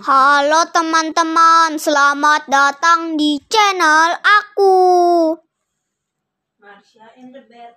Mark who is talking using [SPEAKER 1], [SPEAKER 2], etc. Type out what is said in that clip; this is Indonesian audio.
[SPEAKER 1] Halo teman-teman, selamat datang di channel aku.
[SPEAKER 2] Marsha and the Bear.